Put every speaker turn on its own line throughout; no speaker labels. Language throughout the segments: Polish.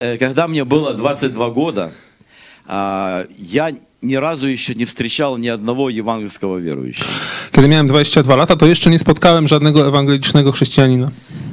Э, Когда мне было 22 года, а, я ни разу еще не встречал ни одного евангельского верующего.
Kiedy miałem 22 lata, to jeszcze nie spotkałem żadnego ewangelicznego chrześcijanina.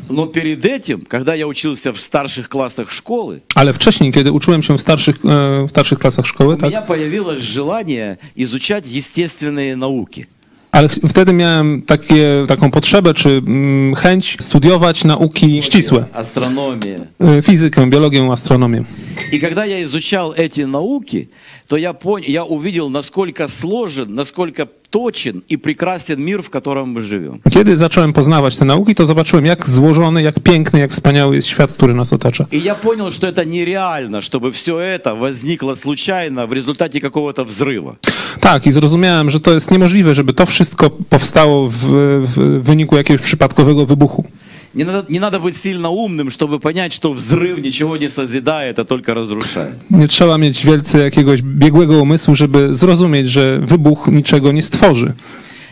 Но перед этим, когда я учился в старших классах szkoły,
Ale wcześniej, kiedy uczyłem się w starszych, e, w starszych klasach szkoły,
у
tak,
меня появилось желание изучать естественные науки.
ale ch- wtedy miałem takie, taką potrzebę czy mm, chęć studiować nauki ścisłe.
Астрономия.
E, Fizykę, biologię, astronomię.
И когда я изучал эти науки, то я, пон... я увидел, насколько сложен, насколько точен и прекрасен мир, в котором мы живем.
Kiedy zacząłem poznawać te nauki, to zobaczyłem, jak złożony, jak piękny, jak wspaniały jest świat, który nas otacza.
И я понял, что это нереально, чтобы все это возникло случайно в результате какого-то взрыва.
Tak, i zrozumiałem, że to jest niemożliwe, żeby to wszystko powstało w, w wyniku jakiegoś przypadkowego wybuchu.
Не надо, не надо быть сильно умным, чтобы понять, что взрыв ничего не созидает, а только разрушает.
Nie trzeba mieć wielce jakiegoś biegłego umysłu, żeby zrozumieć, że wybuch niczego nie stworzy.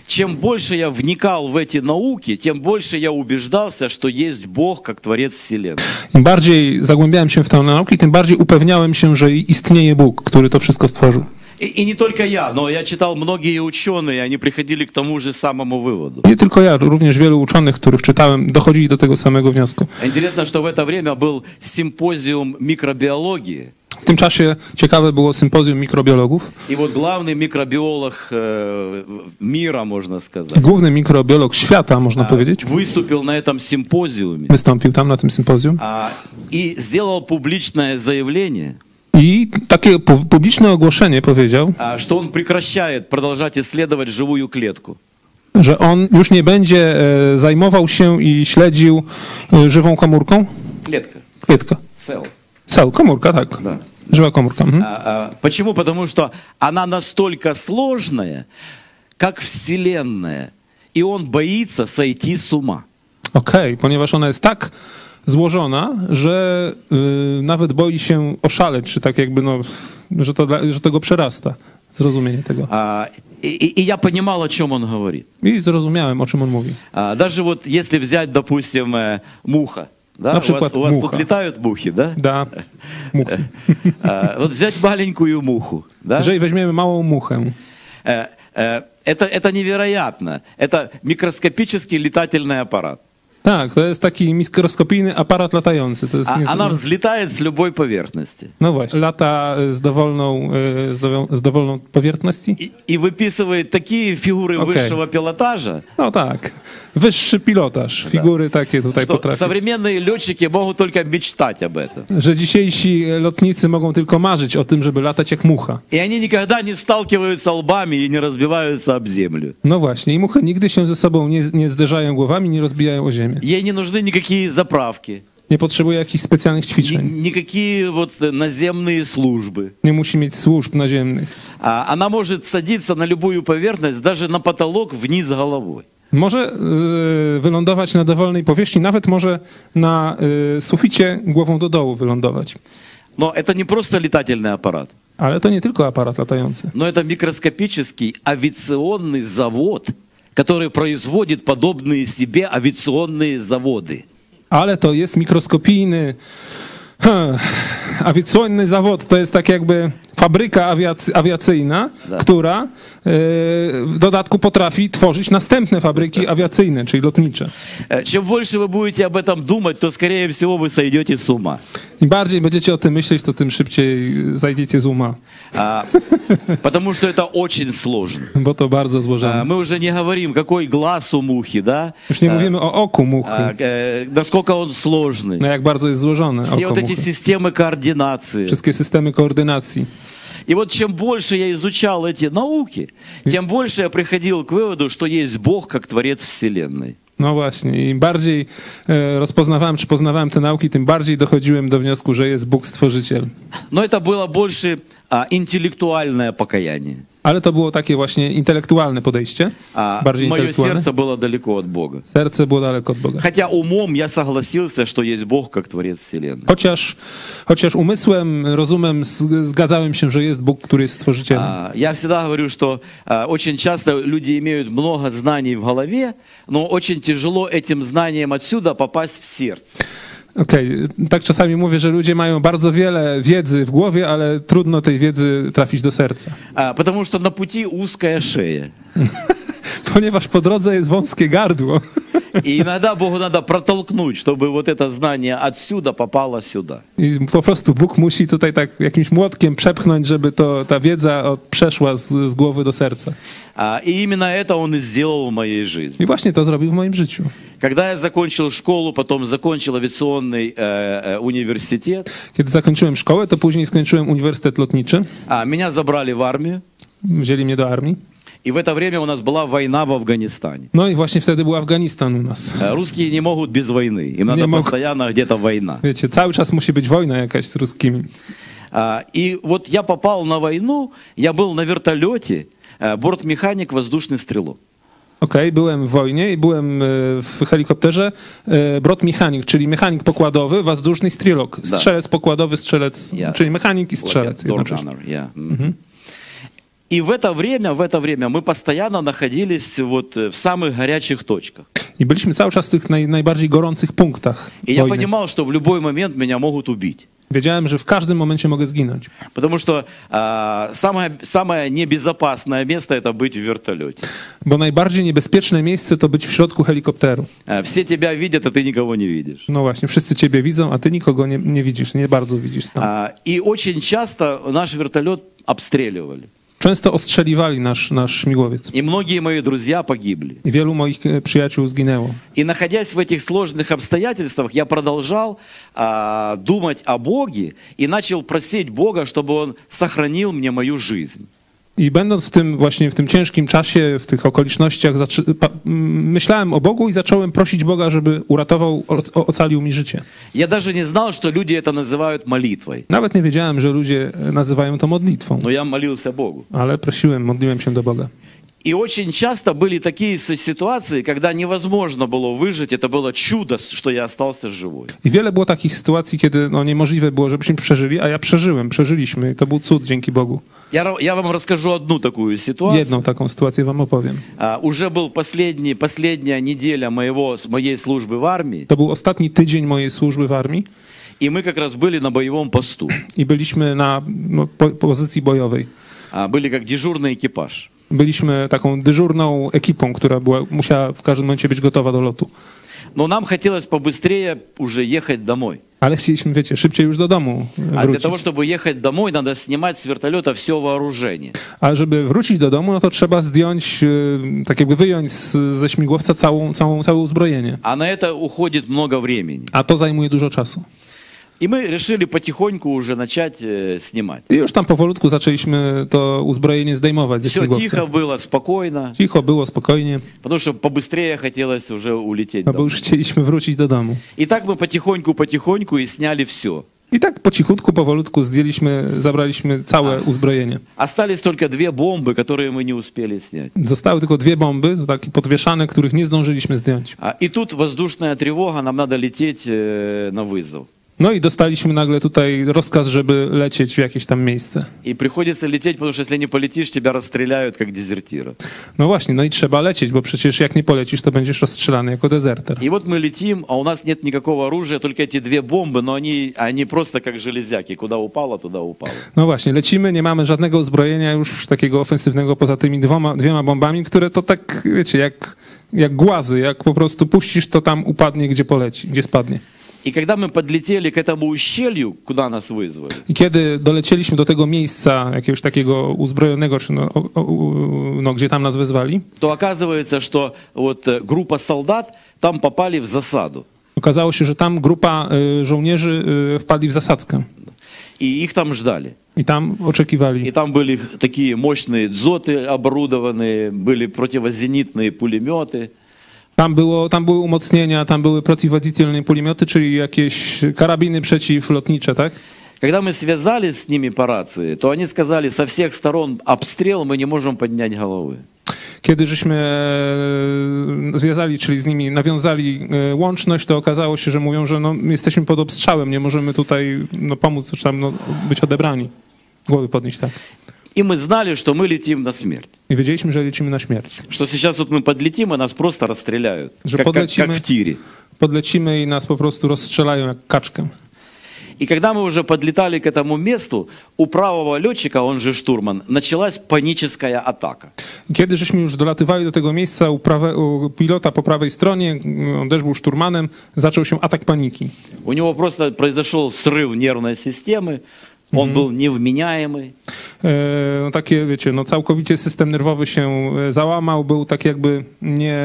Чем больше я вникал в эти науки, тем больше я убеждался, что есть Бог как Творец Вселенной.
Im bardziej zagłębiałem się w tę naukę, tym bardziej upewniałem się, że istnieje Bóg, który to wszystko stworzył.
И, и не только я, но я читал многие ученые, они приходили к тому же самому выводу.
Nie tylko ja, również wielu uczonych, których czytałem, dochodzili do tego samego wniosku.
Интересно, что в это время был симпозиум микробиологии.
W tym czasie ciekawe było sympozjum mikrobiologów.
И вот главный микробиолог э, в- мира, можно сказать,
Główny mikrobiolog świata, można powiedzieć,
выступил на этом симпозиуме
wystąpił tam na tym sympozjum
а, и сделал публичное заявлenie,
i takie pu- publiczne ogłoszenie powiedział,
а, что он прекращает продолжать исследовать живую клетку.
że on już nie będzie e, zajmował się i śledził e, żywą komórką.
Клетка,
Klietka.
cell.
Cel, komórka, tak.
Да.
Żyła komórka. Mhm.
А, а, Почему? Потому что она настолько сложная, как Вселенная. И он боится сойти с ума.
Okej, ponieważ ona jest tak złożona, że y, nawet boi się oszaleć, czy tak jakby, no, że to, dla, że to go przerasta. Zrozumienie tego.
А, И, и- и я понимал, о чем он говорит.
I zrozumiałem, o czym on mówi.
А, Даже вот если взять, допустим, э, муха. Да? У
Например,
вас, у вас тут
муха.
летают мухи, да?
Da muchy.
А, Вот взять маленькую муху. Да?
Jeżeli weźmiemy małą muchę,
Э, э, Это, это невероятно. Это микроскопический летательный аппарат.
tak, to jest taki mikroskopijny aparat latający. To jest
А-
nies-
Она взлетает с любой poверхности.
No właśnie, lata y, z dowolną, y, z dowo- z dowolną powiertności?
И, и выписывает такие фигуры
Окей.
высшего пилотажа,
No tak. Wyższy pilotaż, figury takie tutaj
что
potrafi.
современные летчики могут только mечтать об этом.
Że dzisiejsi lotnicy mogą tylko marzyć o tym, żeby latać jak mucha.
И они никогда не сталкиваются лбами и не разбиваются об землю.
No właśnie, i muchy nigdy się ze sobą nie, nie zderzają głowami, nie rozbijają o ziemię.
Ей не нужны никакие заправки,
Nie potrzebuje jakichś specjalnych
ни-
ćwiczeń.
никакие вот э, наземные службы.
Nie musi mieć służb naziemnych.
А Она может садиться на любую поверхность, даже на потолок вниз головой.
Może y, wylądować na dowolnej powierzchni, nawet może na y, suficie głową do dołu wylądować.
Но это не просто летательный аппарат,
Ale to nie tylko aparat latający.
но это микроскопический авиационный завод, который производит подобные себе авиационные заводы.
Ale to jest mikroskopijny. Hmm. Awiacyjny zawód to jest tak jakby fabryka awiac- awiacyjna,
Tak.
która e, w dodatku potrafi tworzyć następne fabryki awiacyjne, czyli lotnicze.
Э, Чем больше вы будете об этом думать, то, скорее всего, вы сойдете с ума.
Im bardziej będziecie o tym myśleć, to tym szybciej zajdziecie z uma,
А, Потому что это очень сложно.
bo to bardzo
А,
złożone.
Мы уже не говорим, какой глаз у мухи, да?
Już nie mówimy o oku muchy,
А, э, Насколько он сложный.
no jak bardzo jest złożone
Все
oko
вот эти
muchy.
системы координации.
Wszystkie systemy koordynacji.
И вот чем больше я изучал эти науки, тем больше я приходил к выводу, что есть Бог как Творец Вселенной.
No właśnie, im bardziej e, rozpoznawałem czy poznawałem te nauki, tym bardziej dochodziłem do wniosku, że jest Bóg stworzyciel.
Но это было больше а, интеллектуальное покаяние.
Ale to było takie właśnie intelektualne podejście,
А
bardziej
мое
intelektualne.
сердце было далеко от Бога.
Serce było daleko od Boga.
Хотя умом я согласился, что есть Бог как Творец Вселенной.
Chociaż, chociaż umysłem, rozumem z- zgadzałem się, że jest Bóg, który jest stworzycielem.
А, Я всегда говорю, что а, очень часто люди имеют много знаний в голове, но очень тяжело этим знанием отсюда попасть в сердце.
Okej, tak czasami mówię, że ludzie mają bardzo wiele wiedzy w głowie, ale trudno tej wiedzy trafić do serca.
А, потому что на пути узкая шея.
Ponieważ po drodze jest wąskie gardło.
И иногда Богу надо протолкнуть, чтобы вот это знание отсюда попало сюда.
I po prostu Bóg musi tutaj tak jakimś młotkiem przepchnąć, żeby to, ta wiedza od, przeszła z, z głowy do serca.
А, и именно это он и сделал в моей жизни.
I właśnie to zrobił w moim życiu.
Когда я закончил школу, потом закончил авиационный э, э, университет,
Kiedy zakończyłem szkołę, to później skończyłem uniwersytet lotniczy.
а, меня забрали в армию.
Wzięli mnie do armii.
И в это время у нас была война в Афганистане.
No i właśnie wtedy był Afganistan u nas.
Э, Русские не могут без войны. Им надо
могут.
постоянно где-то война.
Wiecie, cały czas musi być wojna jakaś z ruskimi.
А, И вот я попал на войну, я был на вертолете, э, бортмеханик, воздушный стрелок.
Okej, byłem w wojnie i byłem e, w helikopterze. E, Brot mechanik, czyli mechanik pokładowy, wozdłużny strzelok. Strzelec pokładowy, strzelec,
Ja.
czyli mechanik i
Вот
strzelec
я door
jednocześnie.
gunner, я, м. И в это время, в это время мы постоянно находились вот э, в самых горячих точкach.
I byliśmy cały czas w tych naj, najbardziej gorących punktach
И я
wojny.
понимал, что в любой момент меня могут убить.
Wiedziałem, że w każdym momencie mogę zginąć.
Потому что а, самое, самое небезопасное место это быть в вертолете.
Bo najbardziej niebezpieczne miejsce to być w środku helikopteru.
А, Все тебя видят, а ты никого не видишь.
No właśnie, wszyscy ciebie widzą, a ty nikogo nie, nie widzisz, nie bardzo widzisz tam.
А, И очень часто наш вертолет обстреливали.
Często ostrzeliwali nasz, nasz śmigłowiec.
И многие мои друзья погибли.
I wielu moich e, przyjaciół zginęło.
И находясь в этих сложных обстоятельствах, я продолжал а, думать о Боге и начал просить Бога, чтобы Он сохранил мне мою жизнь.
I będąc w tym właśnie w tym ciężkim czasie, w tych okolicznościach, zaczy- pa- m, myślałem o Bogu i zacząłem prosić Boga, żeby uratował, o- o- ocalił mi życie.
Я даже не знал, что люди это называют молитвой,
Nawet nie wiedziałem, że ludzie e, nazywają to modlitwą,
но я молился Богу.
ale prosiłem, modliłem się do Boga.
И очень часто были такие с- ситуации, когда невозможно было выжить, это было чудо, с- что я остался живой.
I wiele było takich sytuacji, kiedy no, niemożliwe było, żebyśmy przeżyli, a ja przeżyłem, przeżyliśmy. I to był cud dzięki Bogu.
Я, ра- я вам расскажу одну такую ситуацию.
Jedną taką sytuację wam opowiem.
А, уже был последний, последняя неделя моего, с моей службы в армии,
To był ostatni tydzień mojej służby w armii
и мы как раз были на боевом посту.
i byliśmy na no, po, pozycji bojowej.
А, были как дежурный экипаж.
Byliśmy taką dyżurną ekipą, która była, musiała w każdym momencie być gotowa do lotu.
Но нам хотелось побыстрее уже ехать домой.
Ale chcieliśmy, wiecie, szybciej już do domu
А для
wrócić.
того, чтобы ехать домой, надо снимать с вертолета все вооружение.
A żeby wrócić do domu, no to trzeba zdjąć, y, tak jakby wyjąć z, ze śmigłowca całą, całą, całe uzbrojenie.
А на это уходит много времени.
A to zajmuje dużo czasu.
И мы решили потихоньку уже начать э, снимать.
I już tam powolutku zaczęliśmy to uzbrojenie zdejmować ze
Все тихо
śmigłowca.
было, спокойно,
Cicho było, spokojnie,
потому что побыстрее хотелось уже улететь
no bo
домой.
już chcieliśmy wrócić do domu.
И так мы потихоньку-потихоньку и сняли все.
I tak po cichutku, powolutku zdjęliśmy, zabraliśmy całe uzbrojenie.
Остались только две бомбы, которые мы не успели снять.
Zostały tylko dwie bomby, to takie podwieszane, których nie zdążyliśmy zdjąć.
А, И тут воздушная тревога, нам надо лететь э, на вызов.
No i dostaliśmy nagle tutaj rozkaz, żeby lecieć w jakieś tam miejsce.
И приходится лететь, потому что если не полетишь, тебя расстреляют как дезертира.
No właśnie, no i trzeba lecieć, bo przecież jak nie polecisz, to będziesz rozstrzelany jako dezerter.
И вот мы летим, а у нас нет никакого оружия, только эти две бомбы, но они, они просто как железяки. Куда упало, туда упало.
No właśnie, lecimy, nie mamy żadnego uzbrojenia już takiego ofensywnego poza tymi dwoma, dwiema bombami, które to tak, wiecie, jak, jak głazy, jak po prostu puścisz, to tam upadnie, gdzie poleci, gdzie spadnie.
И когда мы подлетели к этому ущелью, kуда нас вызвали,
I kiedy dolecieliśmy do tego miejsca jakiegoś takiego uzbrojonego, czy no, o, o, u- no gdzie tam nas wezwali,
то оказывается, что вот э, группа солдат там попали в засаду.
okazało się, że tam grupa y, żołnierzy y, wpadli w zasadzkę
И их там ждали.
i tam
И
oczekiwali.
там были такие мощные дзоты оборудованные, были противозенитные пулеметы.
Tam, było, tam były umocnienia, tam były przeciwwodzicielne pulemioty, czyli jakieś karabiny przeciwlotnicze, tak?
Когда мы связались с ними по рации, то они сказали, со всех сторон обстрел, мы не можем поднять головы.
Kiedy żeśmy e, związali, czyli z nimi nawiązali e, łączność, to okazało się, że mówią, że no, jesteśmy pod obstrzałem, nie możemy tutaj no, pomóc, czy tam no, być odebrani. Głowy podnieść, tak.
И мы знали, что мы летим на смерть.
I wiedzieliśmy, że liczymy na śmierć.
Что сейчас вот мы подлетим, и нас просто расстреляют,
Же
как, как-
подлетим
как
и-
в тире.
podlecimy i nas po prostu rozstrzelają jak kaczkę.
И когда мы уже подлетали к этому месту, у правого летчика, он же штурман, началась паническая атака.
Kiedy żeśmy już dolatywali do tego miejsca, u, prawe, u pilota po prawej stronie, on też był szturmanem, zaczął się atak paniki.
У него просто произошел срыв нервной системы, он был невменяемый.
E, no takie, wiecie, no całkowicie system nerwowy się e, załamał, był tak jakby nie,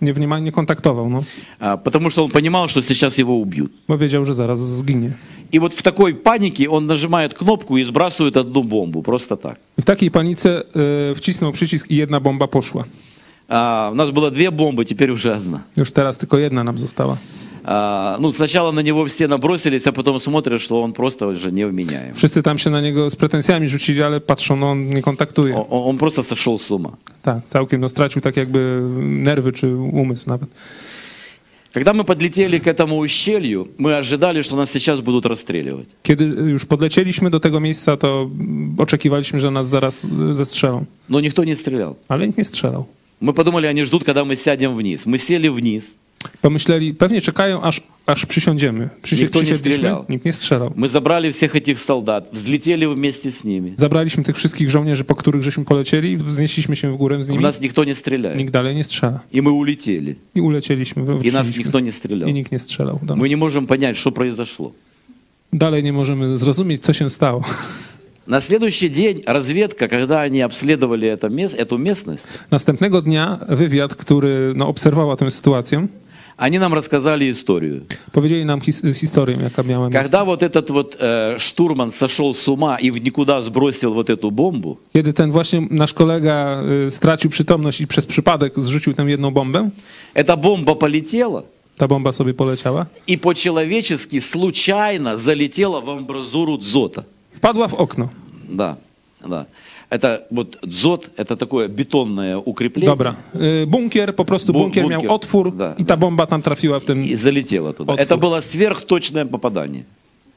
nie, wniema- nie kontaktował, no.
а, потому что он понимал, что сейчас его убьют.
bo wiedział, że zaraz zginie.
И вот в такой панике он нажимает кнопку и сбрасывает одну бомбу, просто так.
I w takiej panice e, wcisnął przycisk i jedna bomba poszła.
А, у нас было две бомбы, теперь уже одна.
Już teraz tylko jedna nam została.
А, ну, сначала на него все набросились, а потом смотрят, что он просто уже невменяем.
Wszyscy tam się na niego z pretensjami rzucili, ale patrzą, no on nie kontaktuje.
Он, он просто сошел с ума.
Tak, całkiem no, stracił tak jakby nerwy czy umysł nawet.
Когда мы подлетели к этому ущелью, мы ожидали, что нас сейчас будут расстреливать.
Kiedy już podlecieliśmy do tego miejsca, to mm, oczekiwaliśmy, że nas zaraz y, zestrzelą,
Но никто не стрелял.
ale nikt nie strzelał.
Мы подумали, они ждут, когда мы сядем вniz. Мы сели вниз,
Pomyśleli, pewnie czekają, aż, aż przysiądziemy. Przysię-
Nikt tu nie
przysiedliśmy,
strzelał.
Nikt nie strzelał.
мы забрали всех этих солдат, взлетели вместе с ними.
Zabraliśmy tych wszystkich żołnierzy, po których żeśmy polecieli, wznieśliśmy się w górę z
В
nimi,
нас никто не стреляет.
nikt dalej nie strzela.
И мы улетели.
I ulecieliśmy.
И нас
wróciliśmy.
никто не стрелял.
I nikt nie strzelał. Do nas.
Мы не можем понять, что произошло.
Dalej nie możemy zrozumieć, co się stało.
На следующий день разведка, когда они обследовали это мес- эту местность,
Następnego dnia wywiad, który no, obserwował tę sytuację,
они нам рассказали историю.
powiedzieli nam his- historię, jaka miała miejsce.
Когда вот этот вот э, штурман сошел с ума и в никуда сбросил вот эту бомбу,
Kiedy ten właśnie nasz kolega y, stracił przytomność i przez przypadek zrzucił tę jedną bombę,
эта бомба полетела
ta bomba sobie poleciała,
и по-человечески случайно залетела в амбразуру дзота.
wpadła w okno.
Да, да. Это вот дзот, это такое бетонное укрепление.
Dobra. Y, Bunkier, po prostu
Bu-
bunkier
bunkier.
miał otwór
Da,
i ta bomba tam trafiła w ten...
И залетела туда.
Отфу.
Это было сверхточное попадание.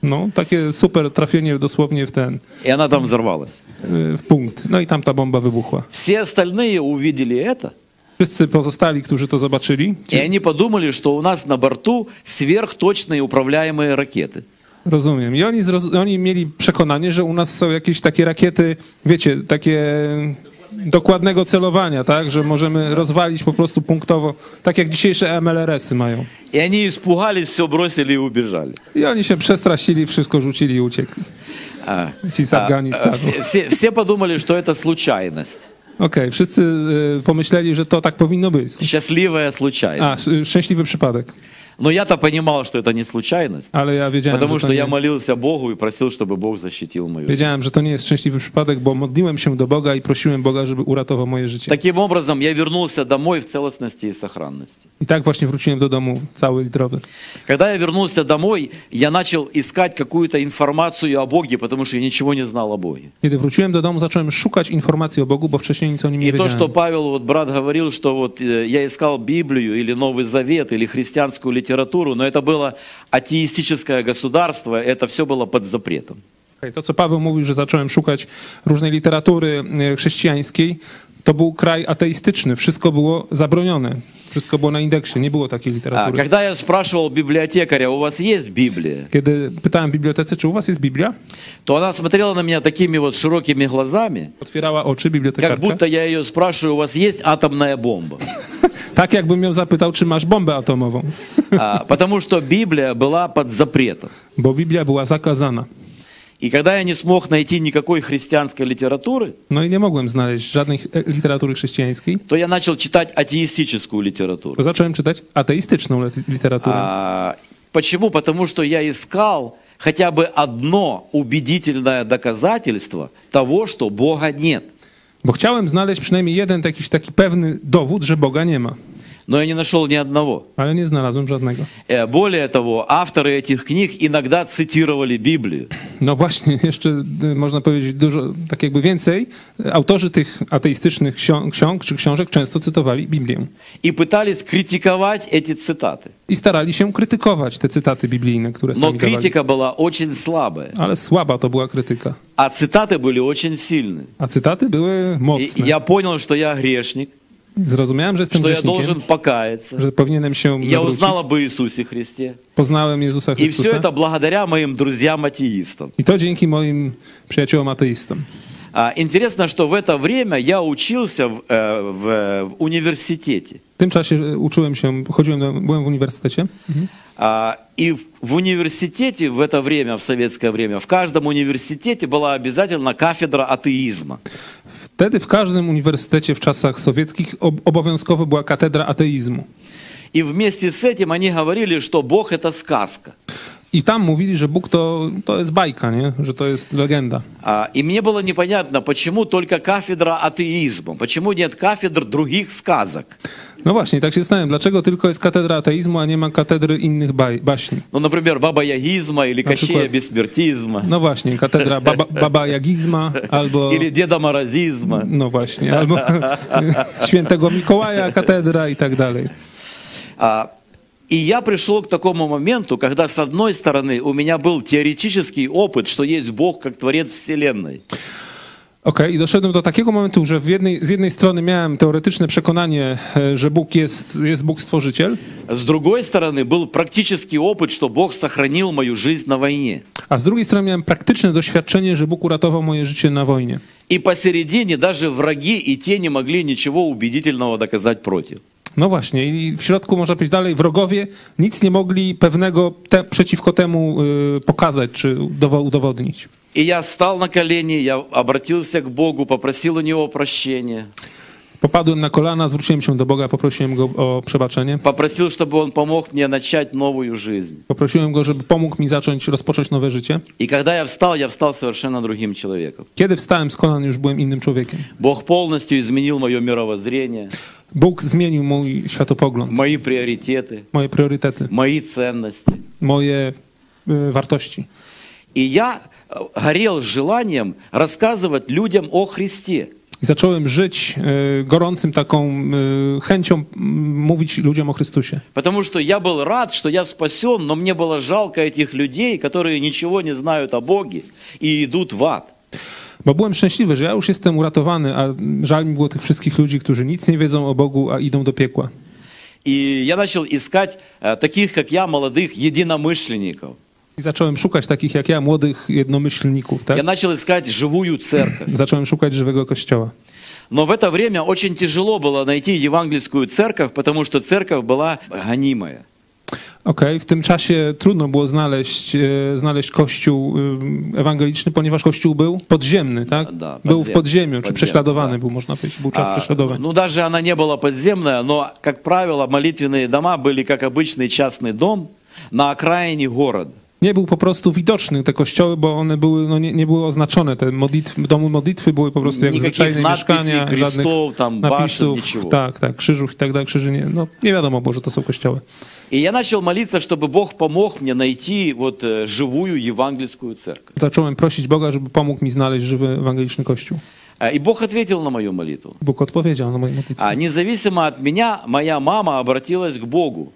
No, takie super trafienie dosłownie w ten,
И она там взорвалась.
y, w punkt. No i tam ta bomba wybuchła.
Все остальные увидели это,
Wszyscy pozostali, którzy to zobaczyli,
и они подумали, что у нас на борту сверхточные управляемые ракеты.
Rozumiem. I oni, zroz- oni mieli przekonanie, że u nas są jakieś takie rakiety, wiecie, takie dokładnego celowania, tak? Że możemy rozwalić po prostu punktowo, tak jak dzisiejsze MLRS-y mają.
И они испугались, все бросили и убежали.
I oni się przestrasili, wszystko rzucili i uciekli.
А,
Ci z
а, а,
Afganistanu. Okej,
все, все- все подумали, что это случайность,
wszyscy y, pomyśleli, że to tak powinno być.
счастливая случайность.
A, sz- y, szczęśliwy przypadek.
Но я-то понимал, что это не случайность,
Ale ja wiedziałem,
потому
że
что
to
я
nie,
молился Богу и просил, чтобы Бог защитил мою. жизнь.
wiedziałem, że to nie jest szczęśliwy przypadek, bo modliłem się do Boga i prosiłem Boga, żeby uratował moje życie.
Таким образом, я вернулся домой в целостности и сохранности.
I tak właśnie wróciłem do domu cały i zdrowy.
Когда я вернулся домой, я начал искать какую-то информацию о Боге, потому что я ничего не знал о Боге.
Kiedy wróciłem do domu, zacząłem szukać informacji o Bogu, bo wcześniej nic o nim nie
И то,
wiedziałem.
что Павел, вот брат говорил, что вот э, я искал Библию или Новый Завет или христианскую литературу, но это было атеистическое государство, это все было под запретом.
Okej, To, co Paweł mówił, że zacząłem szukać różnej literatury e, chrześcijańskiej, to był kraj ateistyczny. Wszystko było zabronione. Wszystko było na indeksie. Nie było takiej
А,
literatury.
когда я спрашивал библиотекаря, у вас есть Библия,
Kiedy pytałem bibliotece, czy u was jest Biblia,
то она смотрела на меня такими вот широкими глазами,
otwierała oczy
как
bibliotekarka.
будто я ее spрашиваю, у вас есть атомная бомба?
Tak jakbym ją zapytał, czy masz bombę atomową.
А, Потому что Библия была под запретом.
Bo Biblia była zakazana.
И когда я не смог найти никакой христианской литературы,
No i nie mogłem znaleźć żadnej e, literatury chrześcijańskiej.
то я начал читать атеистическую literatуру.
Bo zacząłem czytać ateistyczną lit- literaturę.
А, Почему? Потому что я искал хотя бы одно убедительное доказательство того, что Бога нет.
Bo chciałem znaleźć przynajmniej jeden jakiś taki pewny dowód, że Boga nie ma,
Но я не нашел ни одного.
ale nie znalazłem żadnego.
Э, Более того, авторы этих книг иногда цитировали Библию.
No właśnie, jeszcze y, można powiedzieć dużo, tak jakby więcej. E, Autorzy tych ateistycznych ksiąg, ksiąg czy książek często cytowali Biblię
и pытались критиковать эти цитаты.
i starali się krytykować te cytaty biblijne, które
Но
sami dawali.
критика была очень слабая,
Ale słaba to była krytyka,
а цитаты были очень сильны.
a cytaty były
И
mocne.
я понял, что я грешник,
Zrozumiałem, że jestem
что я
grzesznikiem,
должен покаяться.
że powinienem się
Я
nawrócić.
узнал об Иисусе Христе.
Poznałem Jezusa
И все
Chrystusa.
это благодаря моим друзьям-атеистам.
I to dzięki moim przyjaciołom ateistom.
А, Интересно, что в это время я учился в, э, в, э, в университете.
W tym czasie e, uczyłem się, chodziłem, do, byłem w uniwersytecie
А, И в- в университете в это время, в советское время, в каждом университете была обязательно кафедра атеизма.
Wtedy w każdym uniwersytecie w czasach sowieckich ob- obowiązkowo była katedra ateizmu.
И вместе с этим они говорили, что Бог это сказка.
I tam mówili, że Bóg to, to jest bajka, nie? że to jest legenda.
А, И мне было непонятно, почему только кафедра атеизма, почему нет кафедр других сказок.
No właśnie, tak się zastanawiam, dlaczego tylko jest katedra ateizmu, a nie ma katedry innych baj, baśni.
Ну, например, баба-ягизма или кощея
Например.
бессмертизма,
No właśnie, katedra baba, baba jagizma albo...
или деда маразизма.
No właśnie, albo świętego Mikołaja katedra i tak dalej.
А, И я пришел к такому моменту, когда, с одной стороны, у меня был теоретический опыт, что есть Бог как Творец Вселенной.
Okej, i doszedłem do takiego momentu, że w jednej, z jednej strony miałem teoretyczne przekonanie, e, że Bóg jest, jest Bóg stworzyciel,
С другой стороны, был практический опыт, что Бог sохранил мою жизнь на войне.
a z drugiej strony miałem praktyczne doświadczenie, że Bóg uratował moje życie na wojnie.
И посередине даже враги и те не могли ничего убедительного доказать против.
No właśnie, i w środku można powiedzieć dalej, wrogowie nic nie mogli pewnego te, przeciwko temu y, pokazać czy udowo- udowodnić.
И я стал на колени, я обратился к Богу, попросил у Него прощения,
Popadłem na kolana, zwróciłem się do Boga, poprosiłem go o przebaczenie.
попросил, чтобы Он помог мне начать новую жизнь.
Poprosiłem go, żeby pomógł mi zacząć, rozpocząć nowe życie.
И когда я встал, я встал совершенно другим человеком.
Kiedy wstałem z kolan, już byłem innym człowiekiem.
Бог полностью изменил мое мировоззрение,
Bóg zmienił mój światopogląd,
мои приоритеты,
moje priorytety,
мои ценности.
moje y, wartości.
И я э, горел желанием рассказывать людям о Христе.
I zacząłem żyć y, gorącym taką y, chęcią mm, mówić ludziom o Chrystusie.
Потому что я был рад, что я спасен, но мне было жалко этих людей, которые ничего не знают о Боге и идут в ад.
Bo byłem szczęśliwy, że ja już jestem uratowany, a żal mi było tych wszystkich ludzi, którzy nic nie wiedzą o Bogu, a idą do piekła.
И я начал искать э, таких, как я, молодых единомышленников.
I zacząłem szukać takich jak ja, młodych jednomyślników,
Я
tak?
начал искать живую церковь.
Zacząłem szukać żywego kościoła.
Но в это время очень тяжело было найти евангельскую церковь, потому что церковь была гонимая.
Okej, w tym czasie trudno było znaleźć, e, znaleźć kościół e, ewangeliczny, ponieważ kościół był podziemny, tak?
Da,
był w
podziemny,
podziemiu, czy
podziemny,
prześladowany
tak. no-
był, można powiedzieć, był czas
А,
prześladowań.
ну, даже она не была подземная, но, как правило, молитвенные дома были как обычный частный дом на окраине города.
Nie był po prostu widoczny te kościoły, bo one były, no nie, nie były oznaczone. Te modlitw, domy modlitwy były po prostu jak
Nikakich
zwyczajne
nadpisów,
mieszkania,
krzyżów,
żadnych
tam
napisów,
baszyn, niczego.
tak, tak, krzyżów i tak dalej, krzyży nie, no nie wiadomo było, że to są kościoły.
И я начал молиться, чтобы Бог помог мне найти вот э, живую евангельскую церковь.
Zacząłem prosić Boga, żeby pomógł mi znaleźć żywy ewangeliczny kościół.
А, И Бог ответил на мою молитву.
Bóg odpowiedział na moje modlitwy.
А независимо от меня, моя мама обратилась к Богу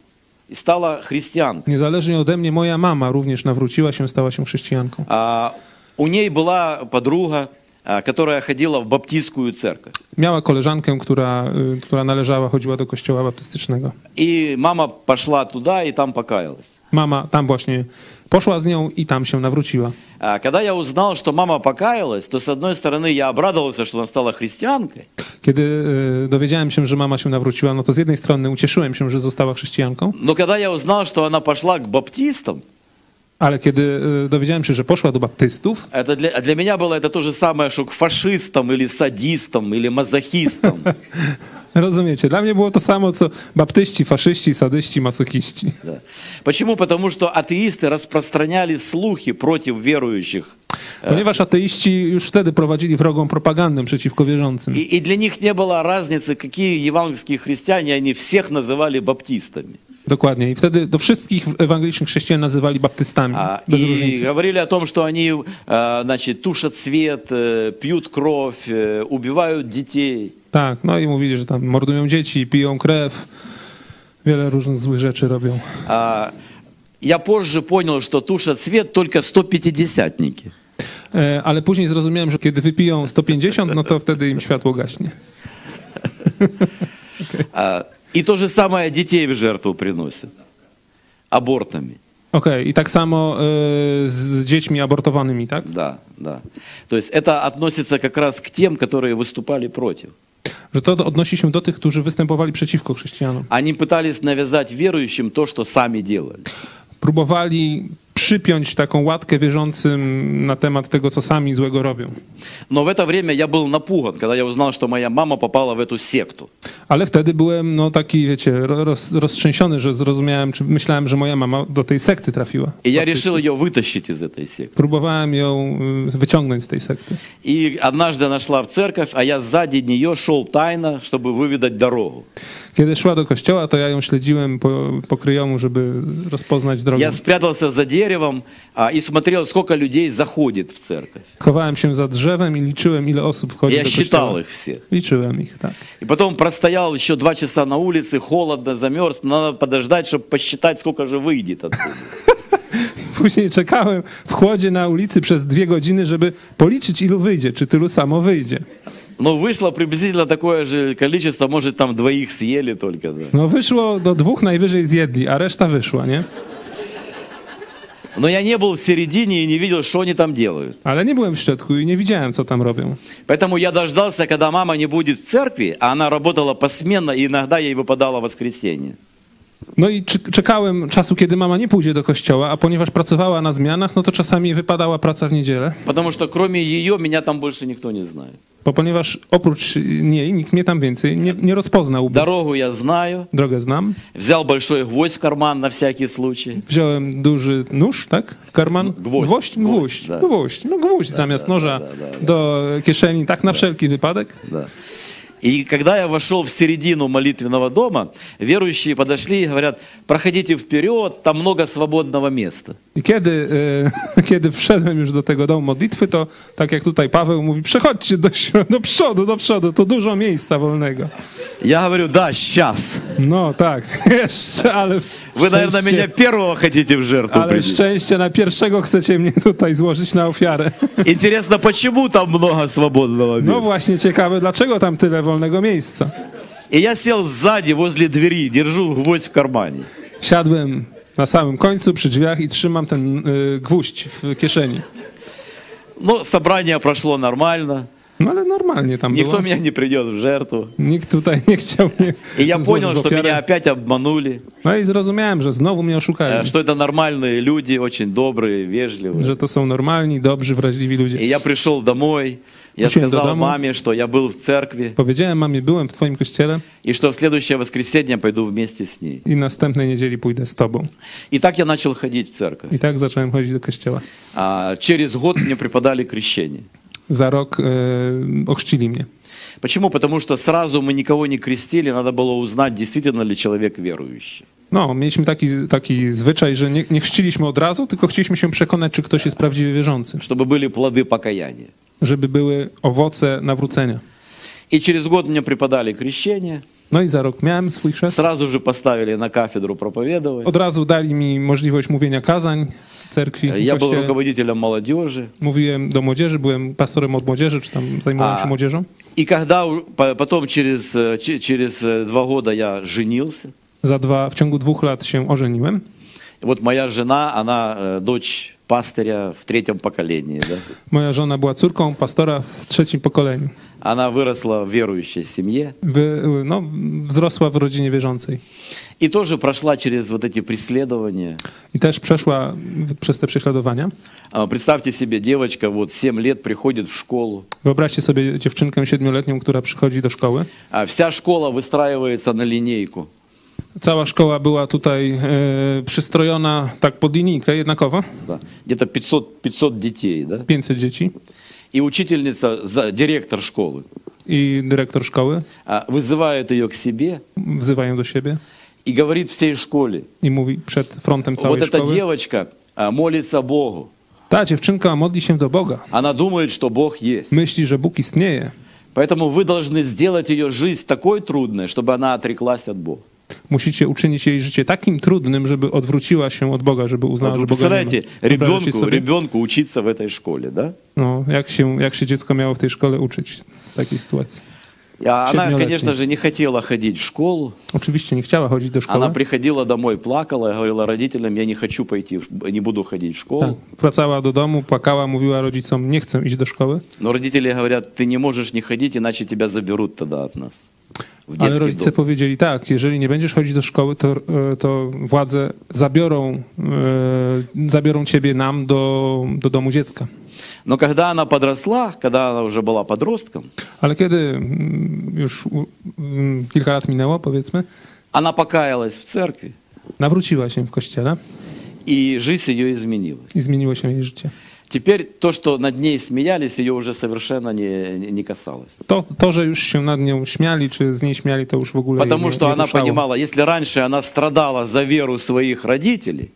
и stала христианкой.
Niezależnie ode mnie, moja mama również nawróciła się, stała się chrześcijanką.
А, У ней была подруга, а, которая ходила в баптистскую церковь.
Miała koleżankę, która, y, która należała, chodziła do kościoła baptystycznego.
И мама пошла туда и там покаялась.
Mama tam właśnie poszła z nią i tam się nawróciła.
А Когда я узнал, что мама покаялась, то с одной стороны я обрадовался, что она стала христианкой,
Kiedy y, dowiedziałem się, że mama się nawróciła, no to z jednej strony ucieszyłem się, że została chrześcijanką,
но когда я узнал, что она пошла к баптистам,
ale kiedy y, dowiedziałem się, że poszła do baptystów,
Это для, а для меня было это то же самое, что к фашистам или садистам или мазохистам.
rozumiecie, dla mnie było to samo, co baptyści, faszyści, sadyści, masochiści.
Да. Почему? Потому что атеисты распространяли слухи против верующих.
Ponieważ ateiści już wtedy prowadzili wrogą propagandę przeciwko wierzącym.
И, и для них не было разницы, какие евангельские христиане, они всех называли баптистами.
Dokładnie. I wtedy do wszystkich ewangelicznych chrześcijan nazywali baptystami,
А,
bez
и
różnicy.
говорили о том, что они э, значит, тушат свет, э, пьют кровь, э, убивают детей.
Tak, no i mówili, że tam mordują dzieci, piją krew, wiele różnych złych rzeczy robią.
А, я позже понял, что тушат свет только 150-ники.
E, Ale później zrozumiałem, że kiedy wypiją 150, no to wtedy im światło gaśnie.
А, И то же самое детей в жертву приносят. Абортами.
Okej, i tak samo y, z, z dziećmi abortowanymi, tak?
Да, да. То есть это относится как раз к тем, которые wystупали против.
Że to odnosi się do tych, którzy występowali przeciwko chrześcijanom.
Они пытались навязать верующим то, что сами делали.
Próbowali przypiąć taką łatkę wierzącym na temat tego, co sami złego robią.
Но в это время я был напуган, когда я узнал, что моя мама попала в эту секту.
Ale wtedy byłem no taki, wiecie, ro- roz, roztrzęsiony, że zrozumiałem, czy myślałem, że moja mama do tej sekty trafiła.
И я решил ее вытащить из этой секты.
Próbowałem ją y, wyciągnąć z tej sekty.
И однажды она шла в церковь, а я сзади нее шел тайно, чтобы выведать дорогу.
Kiedy szła do kościoła, to ja ją śledziłem po, po kryjomu, żeby rozpoznać drogę.
Я спрятался за деревом а, и смотрел, сколько людей заходит в церковь.
Chowałem się za drzewem i liczyłem, ile osób wchodzi
Я
do
считал
kościoła.
их всех.
Liczyłem ich, tak.
И потом простоял еще два часа на улице, холодно, замерз. Надо подождать, чтобы посчитать, сколько же выйдет оттуда.
Później czekałem w chłodzie na ulicy przez dwie godziny, żeby policzyć, ilu wyjdzie, czy tylu samo wyjdzie.
Но вышло приблизительно такое же количество, может, там двоих съели только. да.
No wyszło do dwóch najwyżej zjedli, a reszta wyszła, nie?
Но я не был в середине и не видел, что они там делают.
Ale nie byłem w środku i nie widziałem, co tam robią.
Поэтому я дождался, когда мама не будет в церкви, а она работала посменно, и иногда ей выпадало воскресенье.
No i czy- czekałem czasu, kiedy mama nie pójdzie do kościoła, a ponieważ pracowała na zmianach, no to czasami wypadała praca w niedzielę,
Потому что кроме ее меня там больше никто не знает.
bo ponieważ oprócz niej nikt mnie tam więcej nie, nie rozpoznał.
Дорогу я знаю,
Drogę znam.
взял большой гвоздь в карман на всякий случай.
Wziąłem duży nóż, tak? Karman?
Gwóźdź.
Gwóźdź, gwóźdź,
Gwóźdź, tak.
gwóźdź. No gwóźdź zamiast noża do kieszeni, tak na wszelki wypadek.
Да. И когда я вошел в середину молитвенного дома, верующие подошли и говорят, проходите вперед, там много свободного места.
I kiedy, e, kiedy wszedłem już do tego domu modlitwy, to tak jak tutaj Paweł mówi, przechodźcie do, śro- do przodu, do przodu, tu dużo miejsca wolnego.
Я говорю, да, сейчас.
No tak, jeszcze, ale
Вы, наверное, меня
szczęście,
первого хотите в жертву
ale
принести.
szczęście na pierwszego chcecie mnie tutaj złożyć na ofiarę.
Интересно, почему там много свободного места?
No właśnie ciekawe, dlaczego tam tyle wolnego miejsca.
И я сел сзади возле двери, держу гвоздь в кармане.
Siadłem na samym końcu przy drzwiach i trzymam ten y, gwóźdź w kieszeni.
Но собрание прошло нормально,
No ale normalnie tam
никто
było.
меня не принес в жертву.
Nikt tutaj nie chciał mnie
И я
złożyć
понял,
w
что
ofiarę.
меня опять obmaнули,
No i zrozumiałem, że znowu mnie
э,
oszukają.
что это нормальные люди, очень добрые, вежливые.
Że to są normalni, dobrzy, wrażliwi
И
ludzie.
я пришел домой, я
Очень
сказал
додому.
маме, что я был в церкви,
Powiedziałem mamie, byłem w twoim kościele
и что в следующее воскресенье пойду вместе с ней.
i następnej niedzieli pójdę z tobą.
И так я начал ходить в церковь.
I tak zacząłem chodzić do kościoła.
А, через год мне преподали крещение.
Za rok y, ochrzcili mnie.
Почему? Потому что сразу мы никого не крестили, надо было узнать, действительно ли человек верующий.
No, mieliśmy taki, taki zwyczaj, że nie, nie chrzciliśmy od razu, tylko chcieliśmy się przekonać, czy ktoś jest prawdziwie wierzący.
чтобы были плоды покаяния.
Żeby były owoce nawrócenia.
И через год мне преподали крещение,
No i za rok miałem swój chrzest.
сразу же поставили на кафедру проповедовать.
Od razu dali mi możliwość mówienia kazań w cerkwi. w
Я был
kościele.
руководителем молодежи.
Mówiłem do młodzieży, byłem pastorem od młodzieży, czy tam zajmowałem
A.
się młodzieżą.
И когда у- по- потом через, э, че- через э, два года я женился,
Za dwa, w ciągu dwóch lat się ożeniłem.
вот моя жена, она э, дочь пастыря в третьем поколении. да.
Moja żona była córką pastora w trzecim pokoleniu.
Она wyrosła w wieruющей семье
Wy, no, wzrosła w rodzinie wierzącej.
и тоже прошла через вот эти преследования.
I też przeszła w- przez te prześladowania.
А, Представьте себе, девочка вот 7 лет приходит в szkolu,
Wyobraźcie sobie dziewczynkę siedmioletnią, która przychodzi do szkoły.
а вся школа выстраивается на линейку.
Cała szkoła była tutaj e, przystrojona tak pod linijkę jednakowo.
Да. Где-то 500, 500 детей, да?
500 dzieci
И учительница, за- директор szkoły,
i dyrektor szkoły
а, wызывает ее к себе
wzywają do siebie
и говорит всей szkole,
i mówi przed frontem
вот
całej
эта
szkoły.
девочка а, молится Богу,
Ta dziewczynka modli się do Boga.
она думает, что Бог есть.
Myśli, że Bóg istnieje.
Поэтому вы должны сделать ее жизнь такой трудной, чтобы она отреклась от Бога.
Musicie uczynić jej życie takim trudnym, żeby odwróciła się od Boga, żeby uznała,
Вот
że
вы
Boga nie ma.
представляете,
Wyobraźcie
ребенку,
sobie,
ребенку учиться в этой школе, да?
no, jak, się, jak się dziecko miało w tej szkole uczyć w takiej sytuacji.
А Она,
Siedmioletniej.
конечно же, не хотела ходить в школу.
Oczywiście nie chciała chodzić do
Она
szkoły.
приходила домой, плакала, говорила родителям, я не хочу пойти, в ш- не буду ходить в
Tak.
школу.
Wracała do domu, płakała, mówiła rodzicom, nie chcę iść do szkoły.
Но родители говорят, ты не можешь не ходить, иначе тебя заберут тогда от нас. В
Ale
детский
rodzice
дом.
powiedzieli tak, jeżeli nie będziesz chodzić do szkoły, to, e, to władze zabiorą, e, zabiorą ciebie nam do, do domu dziecka.
Но когда она подросла, когда она уже была подростком,
Ale kiedy mm, już u- mm, kilka lat minęło, powiedzmy,
она покаялась в церкви,
nawróciła się w kościele
и жизнь ее изменилась.
i zmieniło się jej życie.
Теперь то, что над ней смеялись, ее уже совершенно не, не не касалось.
To, to, że już się nad nią śmiali, czy z niej śmiali, to już w ogóle jej
Потому
nie,
что
nie
она
ruszało.
понимала, если раньше она страдала за веру своих родителей,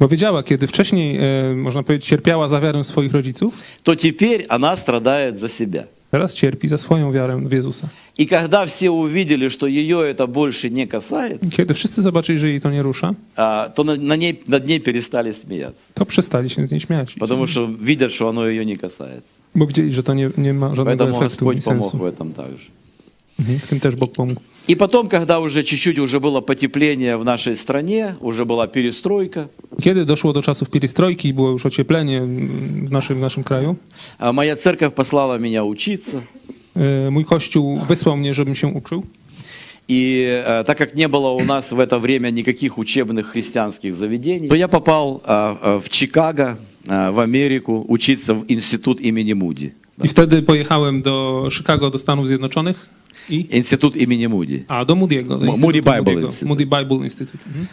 Bo wiedziała, kiedy wcześniej, e, można powiedzieć, cierpiała za wiarę swoich rodziców,
то теперь она страдает за себя.
teraz cierpi za swoją wiarę w Jezusa.
И когда все увидели, что ее это больше не касается,
Kiedy wszyscy zobaczyli, że jej to nie rusza,
а, то на, на ней, над ней перестали смеяться.
to przestali się z niej śmiać.
Потому что видят, что оно ее не касается.
Bo widzieli, że to nie, nie ma żadnego
Поэтому
efektu ani
Господь помог в
sensu.
этом также.
Mhm, W tym też Bóg pomógł.
И потом, когда уже чуть-чуть уже было потепление в нашей стране, уже была перестройка,
Kiedy doszło do czasów pierestrojki i było już ocieplenie mm, w naszym, w naszym kraju,
а моя церковь послала меня учиться.
e, mój kościół wysłał mnie, żebym się uczył.
И э, так как не было у нас в это время никаких учебных христианских заведений, то я попал э, э, в Чикаго, э, в Америку, учиться в институт имени Муди.
I wtedy pojechałem do Chicago, do Stanów Zjednoczonych i...
Институт имени Муди.
A, do Moody'ego. do
Moody
Instytutu
Bible
Moody'ego.
Institute.
Moody Bible Institute. Mhm.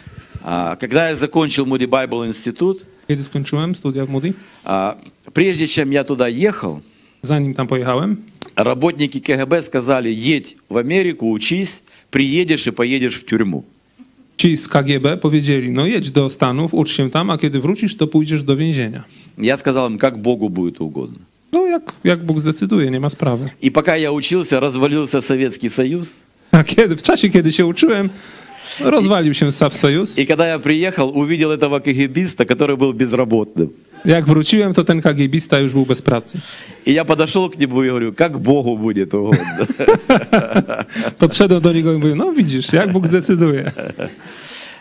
А, Когда я закончил Муди Байбл институт,
Kiedy skończyłem studia w Moody,
а, прежде чем я туда ехал,
zanim tam pojechałem,
работники КГБ сказали, едь в Америку, учись, приедешь и поедешь в тюрьму.
ci z KGB powiedzieli, no jedź do Stanów, ucz się tam, a kiedy wrócisz, to pójdziesz do więzienia.
Я сказал им, как Богу будет угодно.
No jak, jak Bóg zdecyduje, nie ma sprawy.
И пока я учился, развалился Советский Союз,
A kiedy, w czasie, kiedy się uczyłem, rozwalił się Saw Sojus.
И когда я приехал, увидел этого КГБиста, который был безработным.
Jak wróciłem, to ten KGBista już był bez pracy.
И я подошел к нему и говорю, как Богу будет угодно.
Podszedłem do niego i mówię, no widzisz, jak Bóg zdecyduje.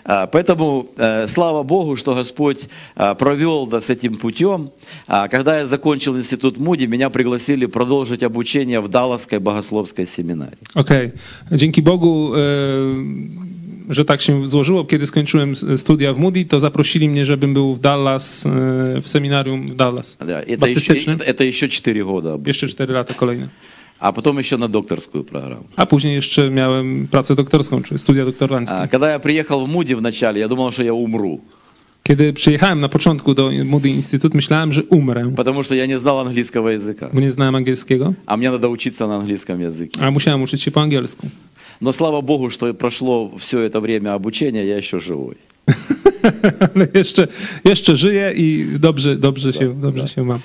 А, Поэтому э, слава Богу, что Господь а, провел нас этим путем. А, Когда я закончил институт Муди, меня пригласили продолжить обучение в Далласской богословской семинарии.
Okej, dzięki Bogu, e, że tak się złożyło. Kiedy skończyłem s- studia w Moody, to zaprosili mnie, żebym był w Dallas, e, w seminarium w Dallas.
Да, Это еще,
Baptystycznym.
это еще 4 года, обу-
Jeszcze 4 lata kolejne.
а потом еще на докторскую программу.
A później jeszcze miałem pracę doktorską, czy studia doktoranckie.
А, Когда я приехал в Муди вначале, я думал, что я умру,
Kiedy przyjechałem na początku do Moody Institute, myślałem, że umrę,
потому что я не знал английского языка.
bo nie znałem angielskiego,
А мне надо учиться на английском языке.
a musiałem uczyć się po angielsku.
Но слава Богу, что прошло все это время обучения, я еще живой.
Ale jeszcze, jeszcze żyję i dobrze, dobrze, się, dobrze się mam.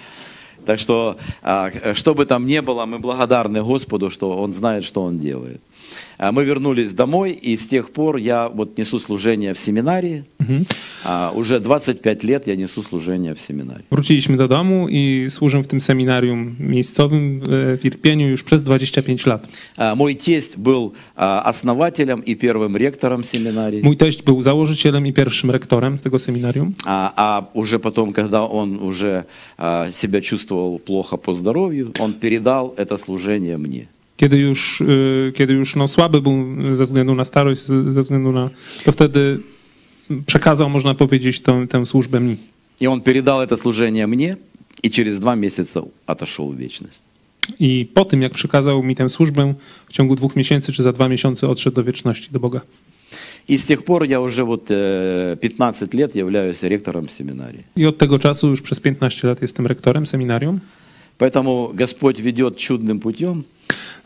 Так что, а, к- что бы там ни было, мы благодарны Господу, что Он знает, что Он делает. А Мы вернулись домой, и с тех пор я вот несу служение в семинарии. А, Уже 25 лет я несу служение в семинарии.
Wróciliśmy do domu i służę w tym seminarium miejscowym e, w Irpieniu już przez 25 lat.
А, Мой тесть был а, основателем и первым ректором семинарии.
Mój teść był założycielem i pierwszym rektorem tego seminarium,
А, а уже потом, когда он уже а, себя чувствовал plохо по здоровью, он передал это служение мне.
kiedy już, e, kiedy już no, słaby był ze względu na starość, ze ze względu na... to wtedy przekazał, można powiedzieć, tą, tę służbę mi.
И он передал это служение мне, и через два месяца отошел в вечность.
I po tym, jak przekazał mi tę służbę, w ciągu dwóch miesięcy czy za dwa miesiące odszedł do wieczności, do Boga.
И с тех пор я уже вот э, 15 лет являюсь ректором семинарии.
I od tego czasu już przez 15 lat jestem rektorem seminarium.
Поэтому Господь ведет чудным путем,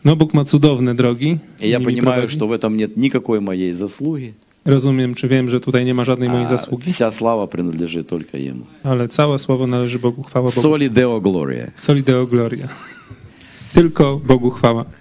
No Bóg ma cudowne drogi.
и я
nimi
понимаю,
prowadzi.
что в этом нет никакой моей заслуги.
Rozumiem, czy wiem, że tutaj nie ma żadnej mojej
а
zasługi,
вся слава принадлежит только Ему.
ale całe słowo należy Bogu, chwała Bogu.
Соли Део Глория.
Solideo Gloria. Tylko Bogu chwała.